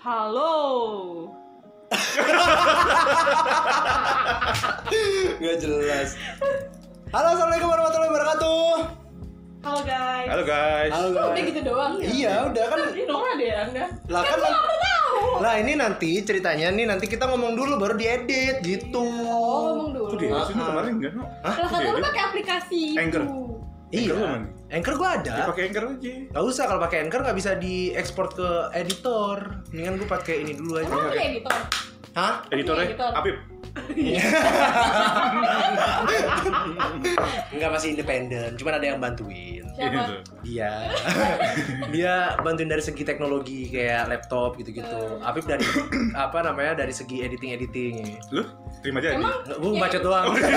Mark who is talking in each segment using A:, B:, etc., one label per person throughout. A: Halo.
B: Nggak jelas. Halo, assalamualaikum warahmatullahi wabarakatuh.
A: Halo guys.
C: Halo guys.
B: Halo
A: Kok udah
B: guys.
A: gitu doang?
B: Iya, udah kan.
A: Ini dong ada ya Anda.
B: Lah kan. Lah ini nanti ceritanya nih nanti kita ngomong dulu baru diedit gitu.
A: Oh, ngomong dulu.
C: Kok dia
B: Ah,
C: sini
B: ah.
C: kemarin enggak? no?
B: Hah?
A: Kalau kata lu
C: Iya.
A: pakai aplikasi
C: Anchor.
A: itu.
B: Iya.
C: Anchor lu mana?
B: Anchor gua ada.
C: Dia pakai anchor aja.
B: Gak usah kalau pakai anchor nggak bisa diekspor ke editor. Mendingan gua pakai ini dulu aja.
A: Emang punya editor?
B: Hah?
C: Editornya
A: Iya, editor.
C: ya? Apip.
B: Enggak masih independen, cuman ada yang bantuin.
A: Siapa?
C: Gitu.
B: Dia Iya. dia bantuin dari segi teknologi kayak laptop
A: Eh.
B: gitu-gitu. Apip dari apa namanya dari segi editing-editing.
C: Lu terima aja.
A: Emang
B: Nggak, Gua baca doang.
C: Oh, iya.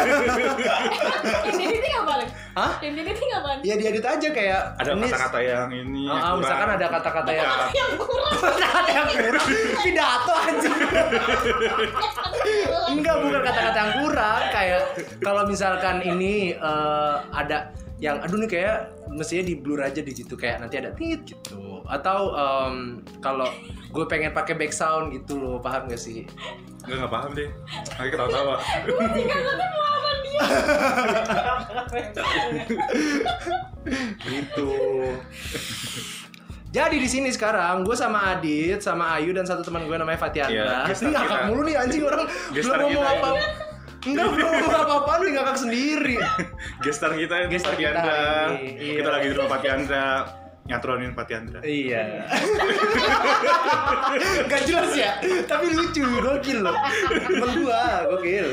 A: yang editing apa Alex?
B: Hah?
A: Yang editing apa?
B: Ya diedit aja kayak
C: ada
B: ini-
C: kata-kata yang ini.
B: Ah, ah,
C: kurang.
B: misalkan ada kata-kata yang
C: Bukan.
A: Yang kurang.
B: kata yang kurang pidato anjing enggak bukan kata-kata yang kurang kayak kalau misalkan ini eh, ada yang aduh nih kayak mestinya di blur aja di situ kayak nanti ada tit gitu atau em, kalau gue pengen pakai back sound gitu loh paham gak sih
C: Enggak enggak paham deh. Lagi ketawa-tawa.
A: Gue tinggal satu pengalaman dia.
B: gitu jadi di sini sekarang gue sama Adit, sama Ayu dan satu teman gue namanya Fatiana.
C: Iya,
B: Ini
C: gestar
B: ngakak
C: kita.
B: mulu nih anjing orang belum
C: Gestar
B: ngomong
C: kita.
B: apa. Enggak belum ngomong apa-apaan nih ngakak sendiri.
C: Gestar kita ini
B: Gestar
C: Pati
B: kita
C: Andra.
B: hari ini, iya.
C: Kita lagi di rumah Pati Andra. Nyatronin Pati Andra.
B: Iya. Gak jelas ya, tapi lucu, gokil loh. Temen gua, gokil.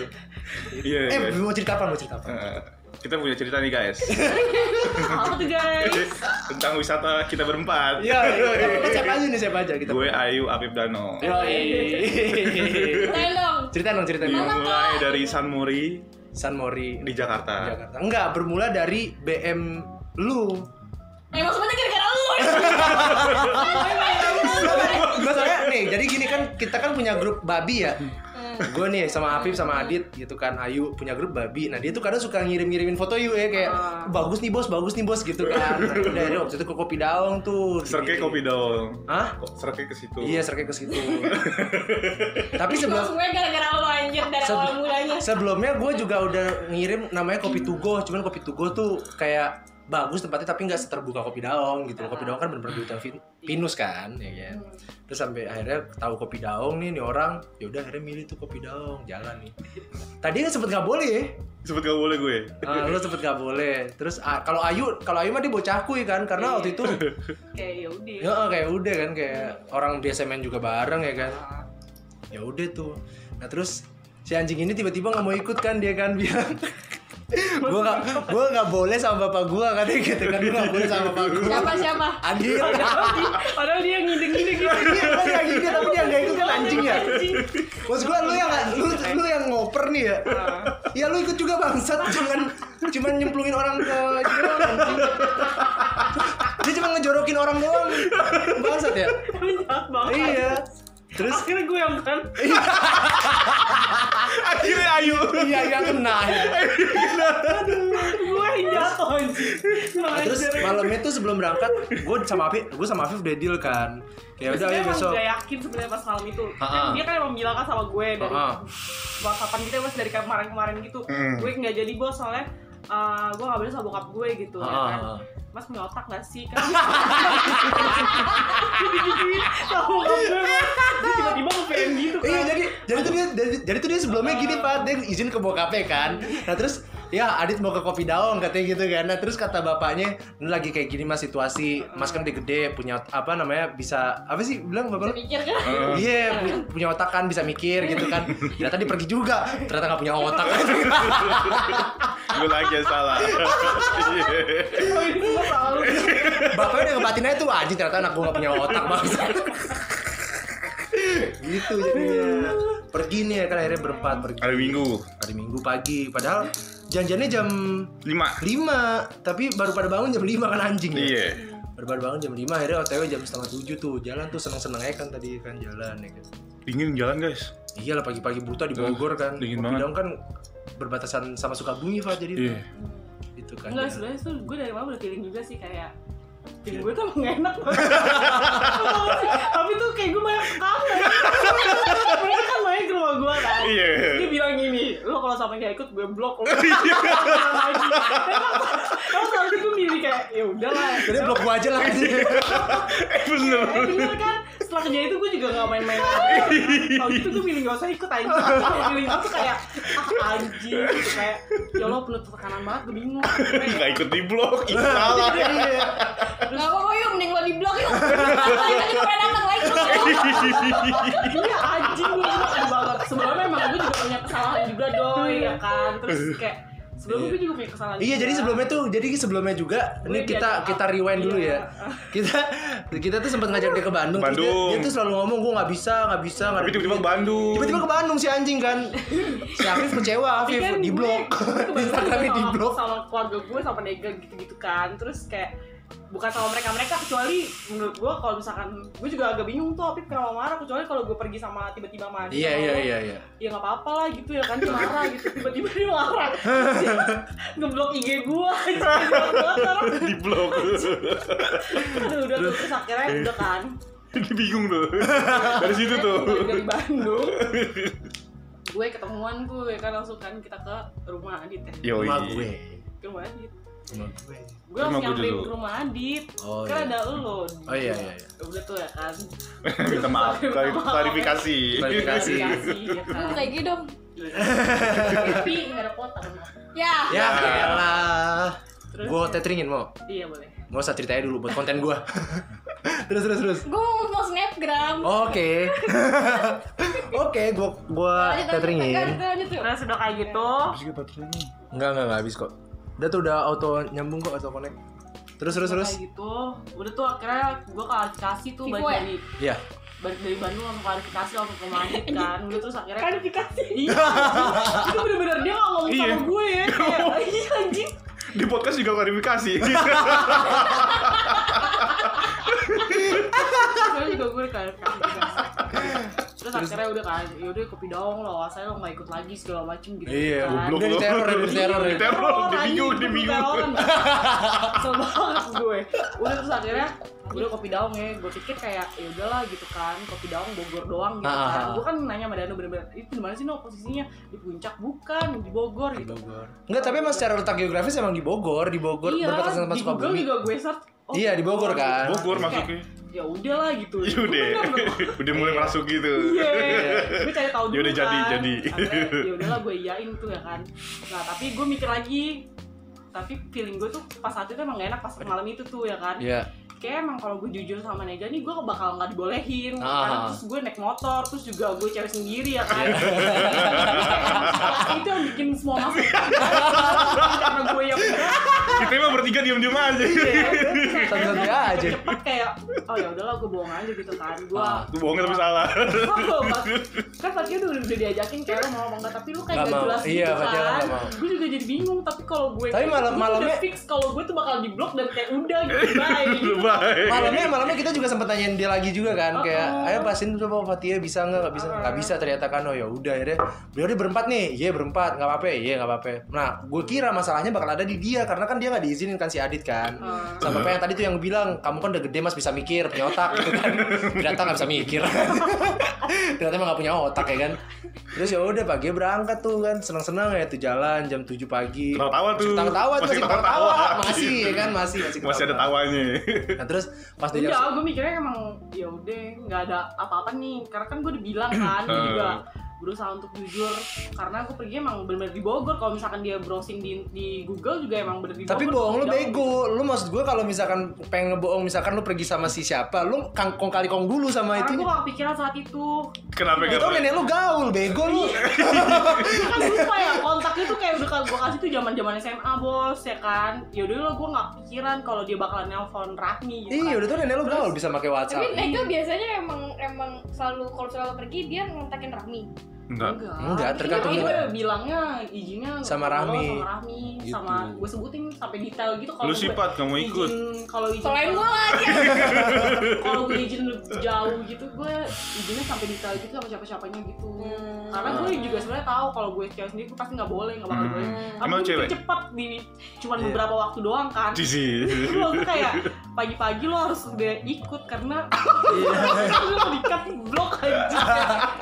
C: Iya.
B: Eh,
C: guys.
B: mau cerita apa? Mau cerita apa?
C: Eh, Kita punya cerita nih guys
A: Apa tuh guys?
C: tentang wisata kita berempat.
B: Iya, kita siapa aja nih, siapa aja kita.
C: Gue Ayu Apip Dano.
B: Iya. Yoi.
A: Tanya dong.
B: Ceritain dong, ceritain dong.
C: Dimulai dari San Mori
B: San Mori
C: di Jakarta.
B: Jakarta. Enggak, bermula dari BM lu.
A: Emang sebenarnya gara-gara lu.
B: Masalahnya nih, jadi gini kan kita kan punya grup babi ya. Gue nih sama Afif sama Adit gitu kan, Ayu punya grup babi. Nah dia tuh kadang suka ngirim-ngirimin foto Yu ya kayak
A: Ah.
B: bagus nih bos, bagus nih bos gitu kan. Nah, udah dari waktu itu ke kopi daung tuh. Gitu.
C: Serke kopi dong.
B: Hah?
C: Kok serke ke situ?
B: Iya serke ke situ. Tapi
A: Sebelum
B: sebelum
A: semuanya gara-gara lu anjir dari
B: Sebe-
A: awal mulanya.
B: sebelumnya gue juga udah ngirim namanya kopi tugo, cuman kopi tugo tuh kayak bagus tempatnya tapi nggak seterbuka kopi daung gitu loh. Kopi daung kan bener-bener di hutan vin- pinus kan, ya kan. terus sampai akhirnya tahu kopi daung nih nih orang ya udah akhirnya milih tuh kopi daung jalan nih tadi kan sempet nggak boleh
C: Sebut gak boleh gue.
B: Ah, lu sempet nggak boleh terus ah, kalau Ayu kalau Ayu mah dia bocah kuy kan karena waktu itu
A: Kayak ya udah.
B: ya eh, kayak udah kan kayak orang biasa main juga bareng ya kan ya udah tuh nah terus si anjing ini tiba-tiba nggak mau ikut kan dia kan bilang gua nggak gua nggak boleh sama bapak gua katanya gitu kan gua nggak boleh sama bapak gua
A: Siapa siapa?
B: Adit
A: Padahal dia ngide-ngide gitu. Iya,
B: Iya, kan kayak gitu tapi dia nggak ikut kan anjing ya Maksud gua lu yang lu, lu yang ngoper nih ya. Ya lu ikut juga bangsat, jangan cuman nyemplungin orang ke gitu doang, anjing. Dia cuma ngejorokin orang doang. Bangsat ya?
A: Jahat banget.
B: Iya. Terus
A: Akhirnya gue yang kan.
C: Akhirnya Ayu.
B: iya yang kena. ya.
A: Gue yang jatuh anjir.
B: Ah, Nah, Terus malamnya tuh sebelum berangkat, gue sama Afif, gue sama Afif udah deal kan. Ya udah
A: Sebenarnya
B: ayo
A: emang
B: besok.
A: gak yakin sebenarnya pas malam itu. Kan
B: Ha-ha.
A: Dia kan emang bilang kan sama gue dari
B: Ha-ha.
A: whatsappan kita mas dari kemarin-kemarin gitu.
C: Hmm.
A: Gue nggak jadi bos soalnya eh, gue gak boleh sama bokap gue gitu ya
B: Ha-ha.
A: kan. Mas punya otak gak sih? Kan Gini-gini sama bokap gue Mas. Dia tiba-tiba gue pengen gitu kan.
B: Iya jadi jadi tuh dia jadi, jadi tuh dia sebelumnya gini pak dia izin ke bokapnya kan. Nah terus ya Adit mau ke kopi daung katanya gitu kan. Nah terus kata bapaknya ini lagi kayak gini mas situasi mas kan udah gede punya apa namanya bisa apa sih bilang
A: Bisa
B: bapak lu?
A: mikir kan.
B: Iya pu- punya otak kan bisa mikir gitu kan. Ternyata dia pergi juga ternyata nggak punya otak.
C: gue lagi yang salah. Iya.
A: Oh, ini semua salah lu.
B: bapaknya udah ngebatin aja tuh anjing ternyata anak gua nggak punya otak bangsa. gitu jadinya pergi nih kan akhirnya berempat pergi
C: Hari Minggu
B: hari Minggu pagi padahal janjiannya jam
C: 5
B: lima tapi baru pada bangun jam lima kan anjing ya?
C: Iya.
B: baru pada bangun jam lima akhirnya otw jam setengah tujuh tuh jalan tuh seneng seneng aja kan tadi kan jalan ya kan
C: Dingin jalan guys.
B: iyalah pagi-pagi buta di Bogor kan
C: dingin
B: Kopi
C: banget.
B: Daung kan berbatasan sama Sukabumi Pak jadi
C: Iya.
B: itu kan
A: Enggak,
C: ya.
B: jalan.
A: sebenarnya tuh gue dari awal udah feeling juga sih
C: Iya.
A: kayak feeling gue tuh emang gak enak banget. Tapi tuh kayak gue banyak sekali kan
C: Iya.
A: sampai nggak ikut gue blok lo.
C: Iya.
A: Emang lagi. Emang seharusnya gue milih kayak ya udahlah.
B: Jadi blok gua aja lah
C: Eh bener.
A: Eh, bener kan? Setelah kerja itu gue juga gak main-main Kalau gitu gue milih gak usah ikut anjing Kalau milih itu kayak ah, anjing gitu. Kayak ya Allah penuh tekanan banget gue bingung
C: Gak ikut di blok, itu salah.
A: Iya.
D: Gak apa-apa oh, yuk, mending lo di blok yuk Lagi lagi lo pengen datang lagi
A: Iya anjing gue bingung banget Sebelumnya emang gue juga punya kesalahan juga doy ya kan Terus kayak sebelumnya gue juga punya kesalahan
B: Iya,
A: juga.
B: jadi sebelumnya tuh, jadi sebelumnya juga,
A: Gue
B: ini kita
A: diajak
B: kita
A: up.
B: rewind dulu
A: Iya.
B: ya. Kita kita tuh sempat ngajak dia ke Bandung. terus dia-
C: Bandung.
B: Dia, tuh selalu ngomong gue nggak bisa, nggak bisa, nggak.
C: Tapi
B: ada
C: tiba-tiba ke
B: duit."
C: Bandung.
B: Tiba-tiba ke Bandung si anjing kan. Si Afif kecewa,
A: Iya
B: Afif
A: kan,
B: di
A: gue
B: blok,
A: kebetulan
B: di Instagramnya
A: sama-
B: di blok.
A: sama keluarga gue sama nega gitu-gitu kan terus kayak bukan sama mereka mereka kecuali menurut gue kalau misalkan gue juga agak bingung tuh Apip kenapa marah kecuali kalau gue pergi sama tiba-tiba sama Adi
B: Iya
A: sama
B: iya
A: lo,
B: iya iya.
A: ya nggak apa-apa lah gitu ya kan dia marah gitu tiba-tiba dia marah ngeblok IG gue
C: Di blok.
A: aduh udah tuh terus akhirnya udah kan
C: Dia bingung tuh. Dari situ tuh.
A: Balik dari Bandung gue ketemuan gue kan langsung kan kita ke rumah Adit ya
C: Yoi.
B: Rumah gue.
A: ke rumah Adit
B: Rumah gue.
A: gue langsung
C: Rumah gue
A: nyamperin
C: dulu.
A: ke rumah Adit
B: Oh,
A: kan
B: iya.
A: ada lo
B: Oh, iya, iya, iya.
A: udah tuh ya kan
C: Minta maaf, klari- klarifikasi.
B: Klarifikasi.
A: Kasih, ya kan
D: Kayak gini dong
A: tapi nggak ada potong
D: Ya
B: Ya elah.
A: Terus?
B: Gue tetringin mau.
A: iya boleh
B: Mau usah ceritain dulu buat konten gue. terus terus terus.
D: Gue mau mau snapgram
B: Oh, Oke. Oke, gua gua
D: Lanjut, lanjut, lanjut,
B: tetringin.
D: lanjut, lanjut.
A: terus udah kayak gitu
B: Iya.
C: Habis kita patroli.
B: Enggak, enggak, enggak habis kok. Udah tuh udah auto nyambung kok, auto connect. Terus terus terus.
A: kayak gitu udah tuh akhirnya gue klarifikasi tuh
D: Vivo
A: balik dari
D: ya?
B: Iya.
A: balik dari Bandung langsung klarifikasi langsung ke rumah Adit kan udah terus akhirnya
D: Klarifikasi
A: iya itu bener-bener dia nggak ngomong
C: Iya.
A: sama gue ya kayak iya anjing
C: Di podcast juga klarifikasi.
A: Soalnya juga gue kayak Terus akhirnya udah kan, yaudah kopi daung lo, asalnya lo gak ikut lagi segala macem gitu
B: Iya,
A: kan.
C: goblok.
B: Udah di teror, udah di teror.
A: Iya,
B: ya.
C: Teror,
A: anjing,
C: dibingung,
A: gue
C: dibingung.
A: teror. Kesel banget gue Udah terus akhirnya, udah kopi daung ya, gue pikir kayak ya udahlah gitu kan, kopi daung Bogor doang gitu
B: Ah, ah,
A: kan
B: ah.
A: Gue kan nanya sama Danu bener-bener, itu dimana sih no posisinya? Di puncak? Bukan, di Bogor gitu
B: Bogor. Enggak, tapi emang secara letak geografis emang di Bogor, di Bogor
A: Iya,
B: berbatasan sama
A: di Google
B: Sukabumi.
A: juga gue search oh,
B: Iya, di Bogor kan.
C: Bogor masuknya.
A: Ya udahlah gitu
C: Iya udah. Udah mulai masuk gitu.
A: Iya. Gue cari tahu dulu.
C: Yaudah, jadi,
A: kan.
C: jadi.
A: Akhirnya, Ya udahlah gue iyain tuh ya kan. Nah, tapi gue mikir lagi. Tapi feeling gue tuh pas saat itu emang gak enak pas malam itu tuh ya kan.
B: Iya.
A: Kayak emang kalau gue jujur sama Nega nih gue bakal nggak dibolehin.
B: Ah.
A: Karena terus gue naik motor, terus juga gue cewek sendiri ya kan. itu yang bikin semua masuk. Karena gue yang berat,
C: Kita emang bertiga diam-diam aja.
A: ya. Terus
B: Santai
A: akhirnya
B: aja.
A: cepet kayak oh ya udahlah gue bohong aja gitu kan gue
B: Ah.
C: Itu bohongnya tapi salah.
A: Oh, pas- kan tadi udah, udah diajakin kayak lo mau apa enggak tapi lu kayak
B: Nggak
A: gak
B: mau.
A: jelas
B: Iya,
A: gitu
B: Fajar
A: kan
B: nggak mau.
A: gue juga jadi bingung tapi kalau gue
B: Tapi malam-
A: gue
B: malamnya-
A: udah fix kalau gue tuh bakal di blok dan kayak udah gitu bye gitu
C: Bye.
B: Malamnya malamnya kita juga sempat nanyain dia lagi juga kan kayak
A: Oh.
B: ayo pastiin coba Fatia bisa nggak nggak bisa nggak bisa ternyata kan oh ya udah akhirnya beliau dia berempat nih iya berempat nggak apa-apa iya nggak apa-apa nah gue kira masalahnya bakal ada di dia karena kan dia nggak diizinin kan si Adit kan sama kayak yang tadi tuh yang bilang kamu kan udah gede mas bisa mikir punya otak gitu kan ternyata nggak bisa mikir ternyata emang nggak punya otak ya kan terus ya udah pagi berangkat tuh kan senang-senang ya tuh jalan jam 7 pagi
C: Ketawa-tawa tuh.
B: ketawa tuh
C: Masih
B: masih ketawa
C: ketawa-tawa.
B: masih ya kan masih
C: Masih ada tawanya.
B: Nah terus pas di
A: udah
B: jam
A: gue Iya, mikirnya emang ya udah nggak ada apa-apa nih karena kan gue udah bilang kan gue juga
B: Uh.
A: berusaha untuk jujur karena gue pergi emang bener-bener di Bogor kalau misalkan dia browsing di, di Google juga emang bener di Bogor
B: tapi bohong lu
A: Jauh.
B: bego. Lu maksud gue kalau misalkan pengen ngebohong misalkan lu pergi sama si siapa, lu kangkong kali kong dulu
A: karena
B: sama Nah, itu.
A: gue gak kepikiran saat itu
C: Kenapa gak
B: Itu nenek lu gaul, bego lu.
A: Gue kan lupa ya kontak itu kayak udah gue kasih tuh zaman zaman SMA bos ya kan ya udah lo gue nggak pikiran kalau dia bakalan nelpon Rahmi gitu
B: Iya, udah tuh nenek lu
A: Terus-
B: gaul bisa pakai
D: Tapi
B: WhatsApp. Iya.
D: Nega biasanya emang emang selalu kalau selalu pergi dia ngontakin Rahmi
A: kan.
C: Enggak.
A: enggak
B: Enggak,
A: Tapi
B: tergantung
A: gue
B: dia.
A: bilangnya izinnya kalau
B: Sama Rahmi.
A: sama Rahmi
B: Gitu.
A: sama gue sebutin sampai detail gitu kalau
C: Lu
A: gue
C: sifat kamu ikut.
A: izin kalau izin
D: Selain gue lagi
A: kalau gue izin jauh gitu gue izinnya sampai detail gitu sama siapa siapanya gitu
D: Hmm.
A: karena gue juga sebenarnya tahu kalau gue cewek sendiri gue pasti nggak boleh nggak bakal
C: Hmm.
A: boleh Tapi
C: Emang
A: gue
C: cewek?
A: cepet di cuman
B: Iya.
A: beberapa waktu doang kan
C: Di
A: Terus lo tuh kayak pagi-pagi lo harus udah ikut karena
C: Iya.
A: lo dikat blok aja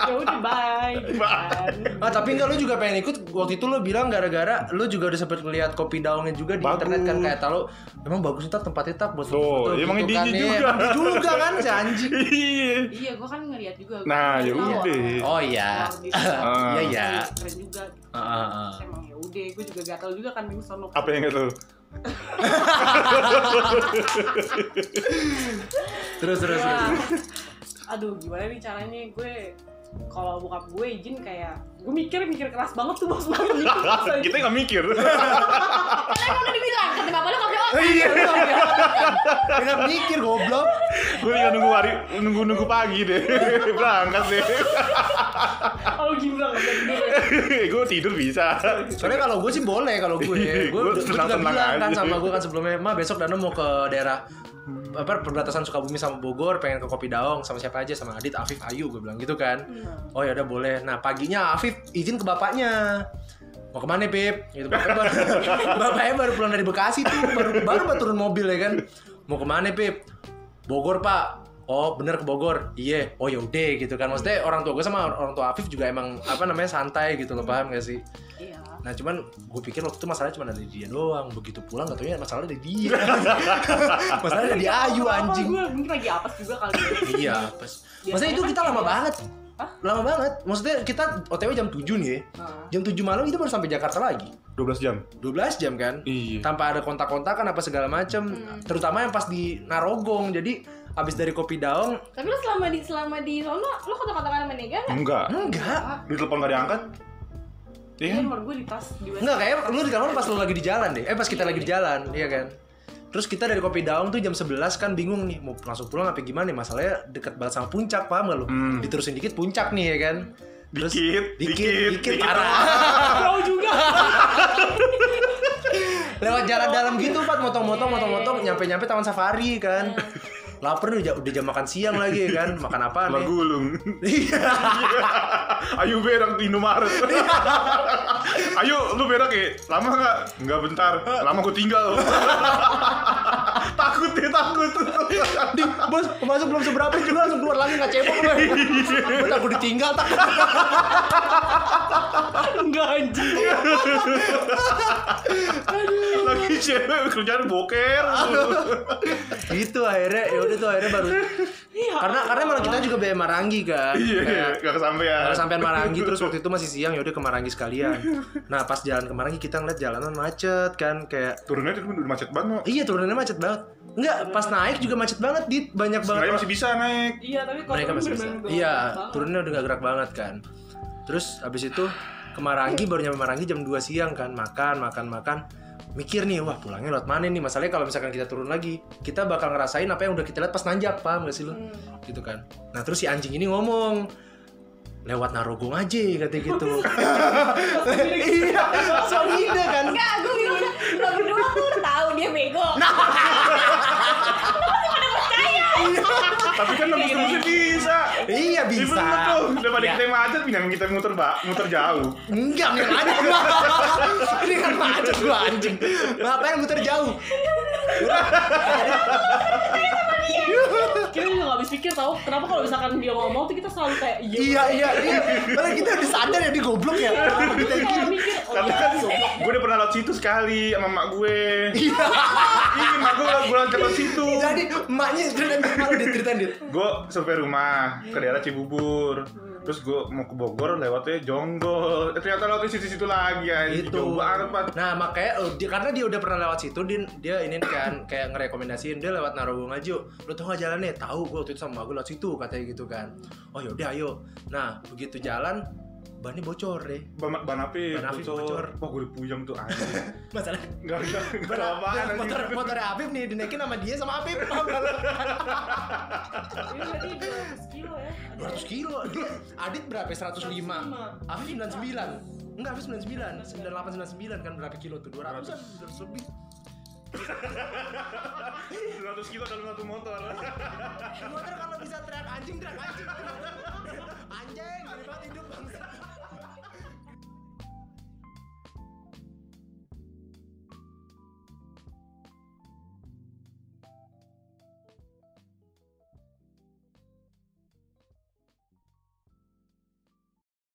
A: ya udah bye gitu kan.
B: Oh, Ah tapi enggak lu juga pengen ikut waktu itu lu bilang gara-gara lu juga udah sempet ngeliat kopi daungnya juga di
C: Bagus.
B: internet kan kayak tahu emang bagus ntar tempatnya tak buat
C: Tuh, emang
B: gitu
C: di
B: kan.
C: IG
B: Iya,
C: juga.
B: emang di juga kan si anjing.
C: Iya.
A: Iya, gue kan ngeliat juga.
C: Nah, ya udah.
B: Oh iya. Iya iya.
A: Keren juga.
B: Ah, ah, ah.
A: Terus emang ya udah, gue juga gatel juga kan di sono.
C: Apa yang itu?
B: Terus terus terus.
A: Wah. Iya. Aduh, gimana nih caranya gue kalau bokap gue izin kayak gue mikir mikir keras banget tuh bos banget mikir keras aja.
C: Kita nggak mikir.
D: Kan emang udah dibilang, kata bapak lu gak boleh otak.
C: Iya.
B: Enggak mikir goblok.
C: Gue tinggal nunggu hari, nunggu nunggu pagi deh. Berangkat deh.
A: kalau gimana nggak bisa tidur ya.
C: Gue tidur bisa.
B: Soalnya kalau gue sih boleh kalau gue,
C: Iya,
B: gue
C: gua
B: gue juga
C: tenang-tenang
B: bilang kan
C: aja.
B: sama gue kan sebelumnya, ma besok Dano mau ke daerah apa perbatasan Sukabumi sama Bogor, pengen ke Kopi Daong sama siapa aja sama Adit, Afif, Ayu, gue bilang gitu kan.
C: Iya.
B: Oh ya udah boleh. Nah paginya Afif izin ke bapaknya. Mau kemana Pip? Gitu, bapaknya, baru, bapaknya baru pulang dari Bekasi tuh, baru baru baru turun mobil ya kan. Mau kemana Pip? Bogor Pak. Oh bener ke Bogor, iya. Oh yaudah gitu kan. Maksudnya orang tua gue sama orang tua Afif juga emang apa namanya santai gitu loh paham gak sih?
A: Iya.
B: Nah cuman gue pikir waktu itu masalahnya cuma ada di dia doang Begitu pulang gak taunya masalahnya ada di dia Masalahnya ada di Ayu
A: Apa
B: anjing
A: Gue mungkin lagi apes juga kali. ya.
B: Iya pas Maksudnya itu kita lama banget
A: kan Hah?
B: Lama banget Maksudnya kita OTW jam 7 nih ya
A: Nah,
B: Jam 7 malam kita baru sampai Jakarta lagi
C: 12 jam.
B: 12 jam kan
C: Iya.
B: tanpa ada kontak-kontakan apa segala macem
A: Hmm.
B: terutama yang pas di Narogong jadi abis dari kopi daong
D: Tapi lu selama di selama di sono, lu kotak-kotakan sama Nega nggak?
C: Enggak.
B: enggak
C: Di telepon nggak diangkat. Iya.
A: Iya,
C: kan?
A: nomor gue di tas di WC.
B: Enggak kayak lu di kamar pas lu lagi di jalan deh. Eh pas kita lagi di jalan, iya kan? Terus kita dari Kopi Daung tuh jam 11 kan bingung nih mau langsung pulang apa gimana nih masalahnya dekat banget sama puncak paham gak lu?
C: Hmm.
B: Diterusin dikit puncak nih ya kan. Terus
C: Dikit,
B: dikit,
C: dikit,
B: dikit,
C: dikit.
B: parah.
A: Jauh juga.
B: Lewat jalan dalam gitu Pat motong-motong motong-motong nyampe-nyampe Taman Safari kan. Laper udah, udah jam makan siang lagi ya kan. Makan apa nih?
C: Lagu ulung.
B: Iya.
C: Ayo berak di Indomaret. Ayo lu berak ya. Lama nggak? Nggak bentar. Lama gue tinggal. takut dia takut.
B: Di, bos, masuk belum seberapa juga langsung keluar lagi nggak cebok gue. Gue takut ditinggal tak.
A: Enggak anjing.
C: Lagi cewek kerjaan boker.
B: gitu akhirnya ya udah tuh akhirnya baru
A: Iya.
B: karena karena malah kita juga bayar Marangi kan
C: Iya,
B: Kayak-
C: nggak kesampaian.
B: Kalau sampean Marangi terus waktu itu masih siang ya udah ke Marangi sekalian. Nah, pas jalan ke Marangi kita ngeliat jalanan macet kan kayak
C: Turunnya itu udah macet banget.
B: iya turunannya macet banget. Enggak, pas naik juga macet banget, Dit. Banyak banget.
C: Sebenarnya masih bisa naik.
A: Iya, tapi kalau
B: mereka
A: turun
B: masih bisa.
A: bener-bener gue
B: Iya,
A: banget.
B: turunnya udah gak gerak banget kan. Terus abis itu ke Marangi baru nyampe Marangi jam 2 siang kan, makan, makan, makan. Mikir nih, wah pulangnya lewat mana nih? Masalahnya kalau misalkan kita turun lagi, kita bakal ngerasain apa yang udah kita lihat pas nanjak, paham gak sih lu?
A: Hmm.
B: Gitu kan. Nah terus si anjing ini ngomong, lewat narogong aja katanya gitu. iya, Sonida kan.
D: Enggak, gue bilang lo berdua tuh udah tahu dia bego. Nah,
C: Tapi kan lebih terusnya bisa.
B: Iya
C: Iya
B: bisa.
C: bener tuh. Daripada kita macet, pindahin kita muter ba- muter jauh.
B: Enggak, enggak ada gua. Ini kan macet gua anjing. Ngapain muter jauh?
A: Kita juga gak habis pikir tau kenapa kalau misalkan dia ngomong tuh kita selalu kayak iya.
B: Iya, iya, iya. Padahal kita udah sadar ya di goblok ya.
A: Kita kayak mikir oh
C: Karena
A: iya.
C: kan gue udah pernah lewat situ sekali sama mak gue.
B: Iya.
C: Ih, mak gue lewat- gue lewat lewat situ.
B: Jadi emaknya ceritain malu dia ceritain dia.
C: Gue survei rumah ke daerah Cibubur. Terus gue mau ke Bogor lewatnya Jonggol. Eh, ternyata lewatnya situ-situ lagi ya.
B: Gitu.
C: Jauh banget. Pat.
B: Nah, makanya eh, dia, karena dia udah pernah lewat situ, dia, dia ini kan kayak ngerekomendasiin dia lewat Narogong aja. yuk. Lu tau gak jalannya? Tahu gua waktu itu sama gue lewat situ katanya gitu kan. Oh yaudah ayo. Nah, begitu jalan bannya bocor deh.
C: Ban ban api,
B: Ban api bocor.
C: bocor. Wah, gue dipuyang tuh anjing.
B: Masalah gitu?
C: Enggak enggak enggak apaan. anjing.
B: motor motor Abib nih dinaikin sama dia sama Abib. Paham gak lu?
A: Ini berarti 200 kilo ya.
B: 200 kilo dia Adit berapa ya? 105 Afif 99 enggak Afif 99 98 99 kan berapa kilo tuh 200 an 200 lebih
C: 200 kilo dalam satu motor.
B: motor kalau bisa teriak anjing teriak anjing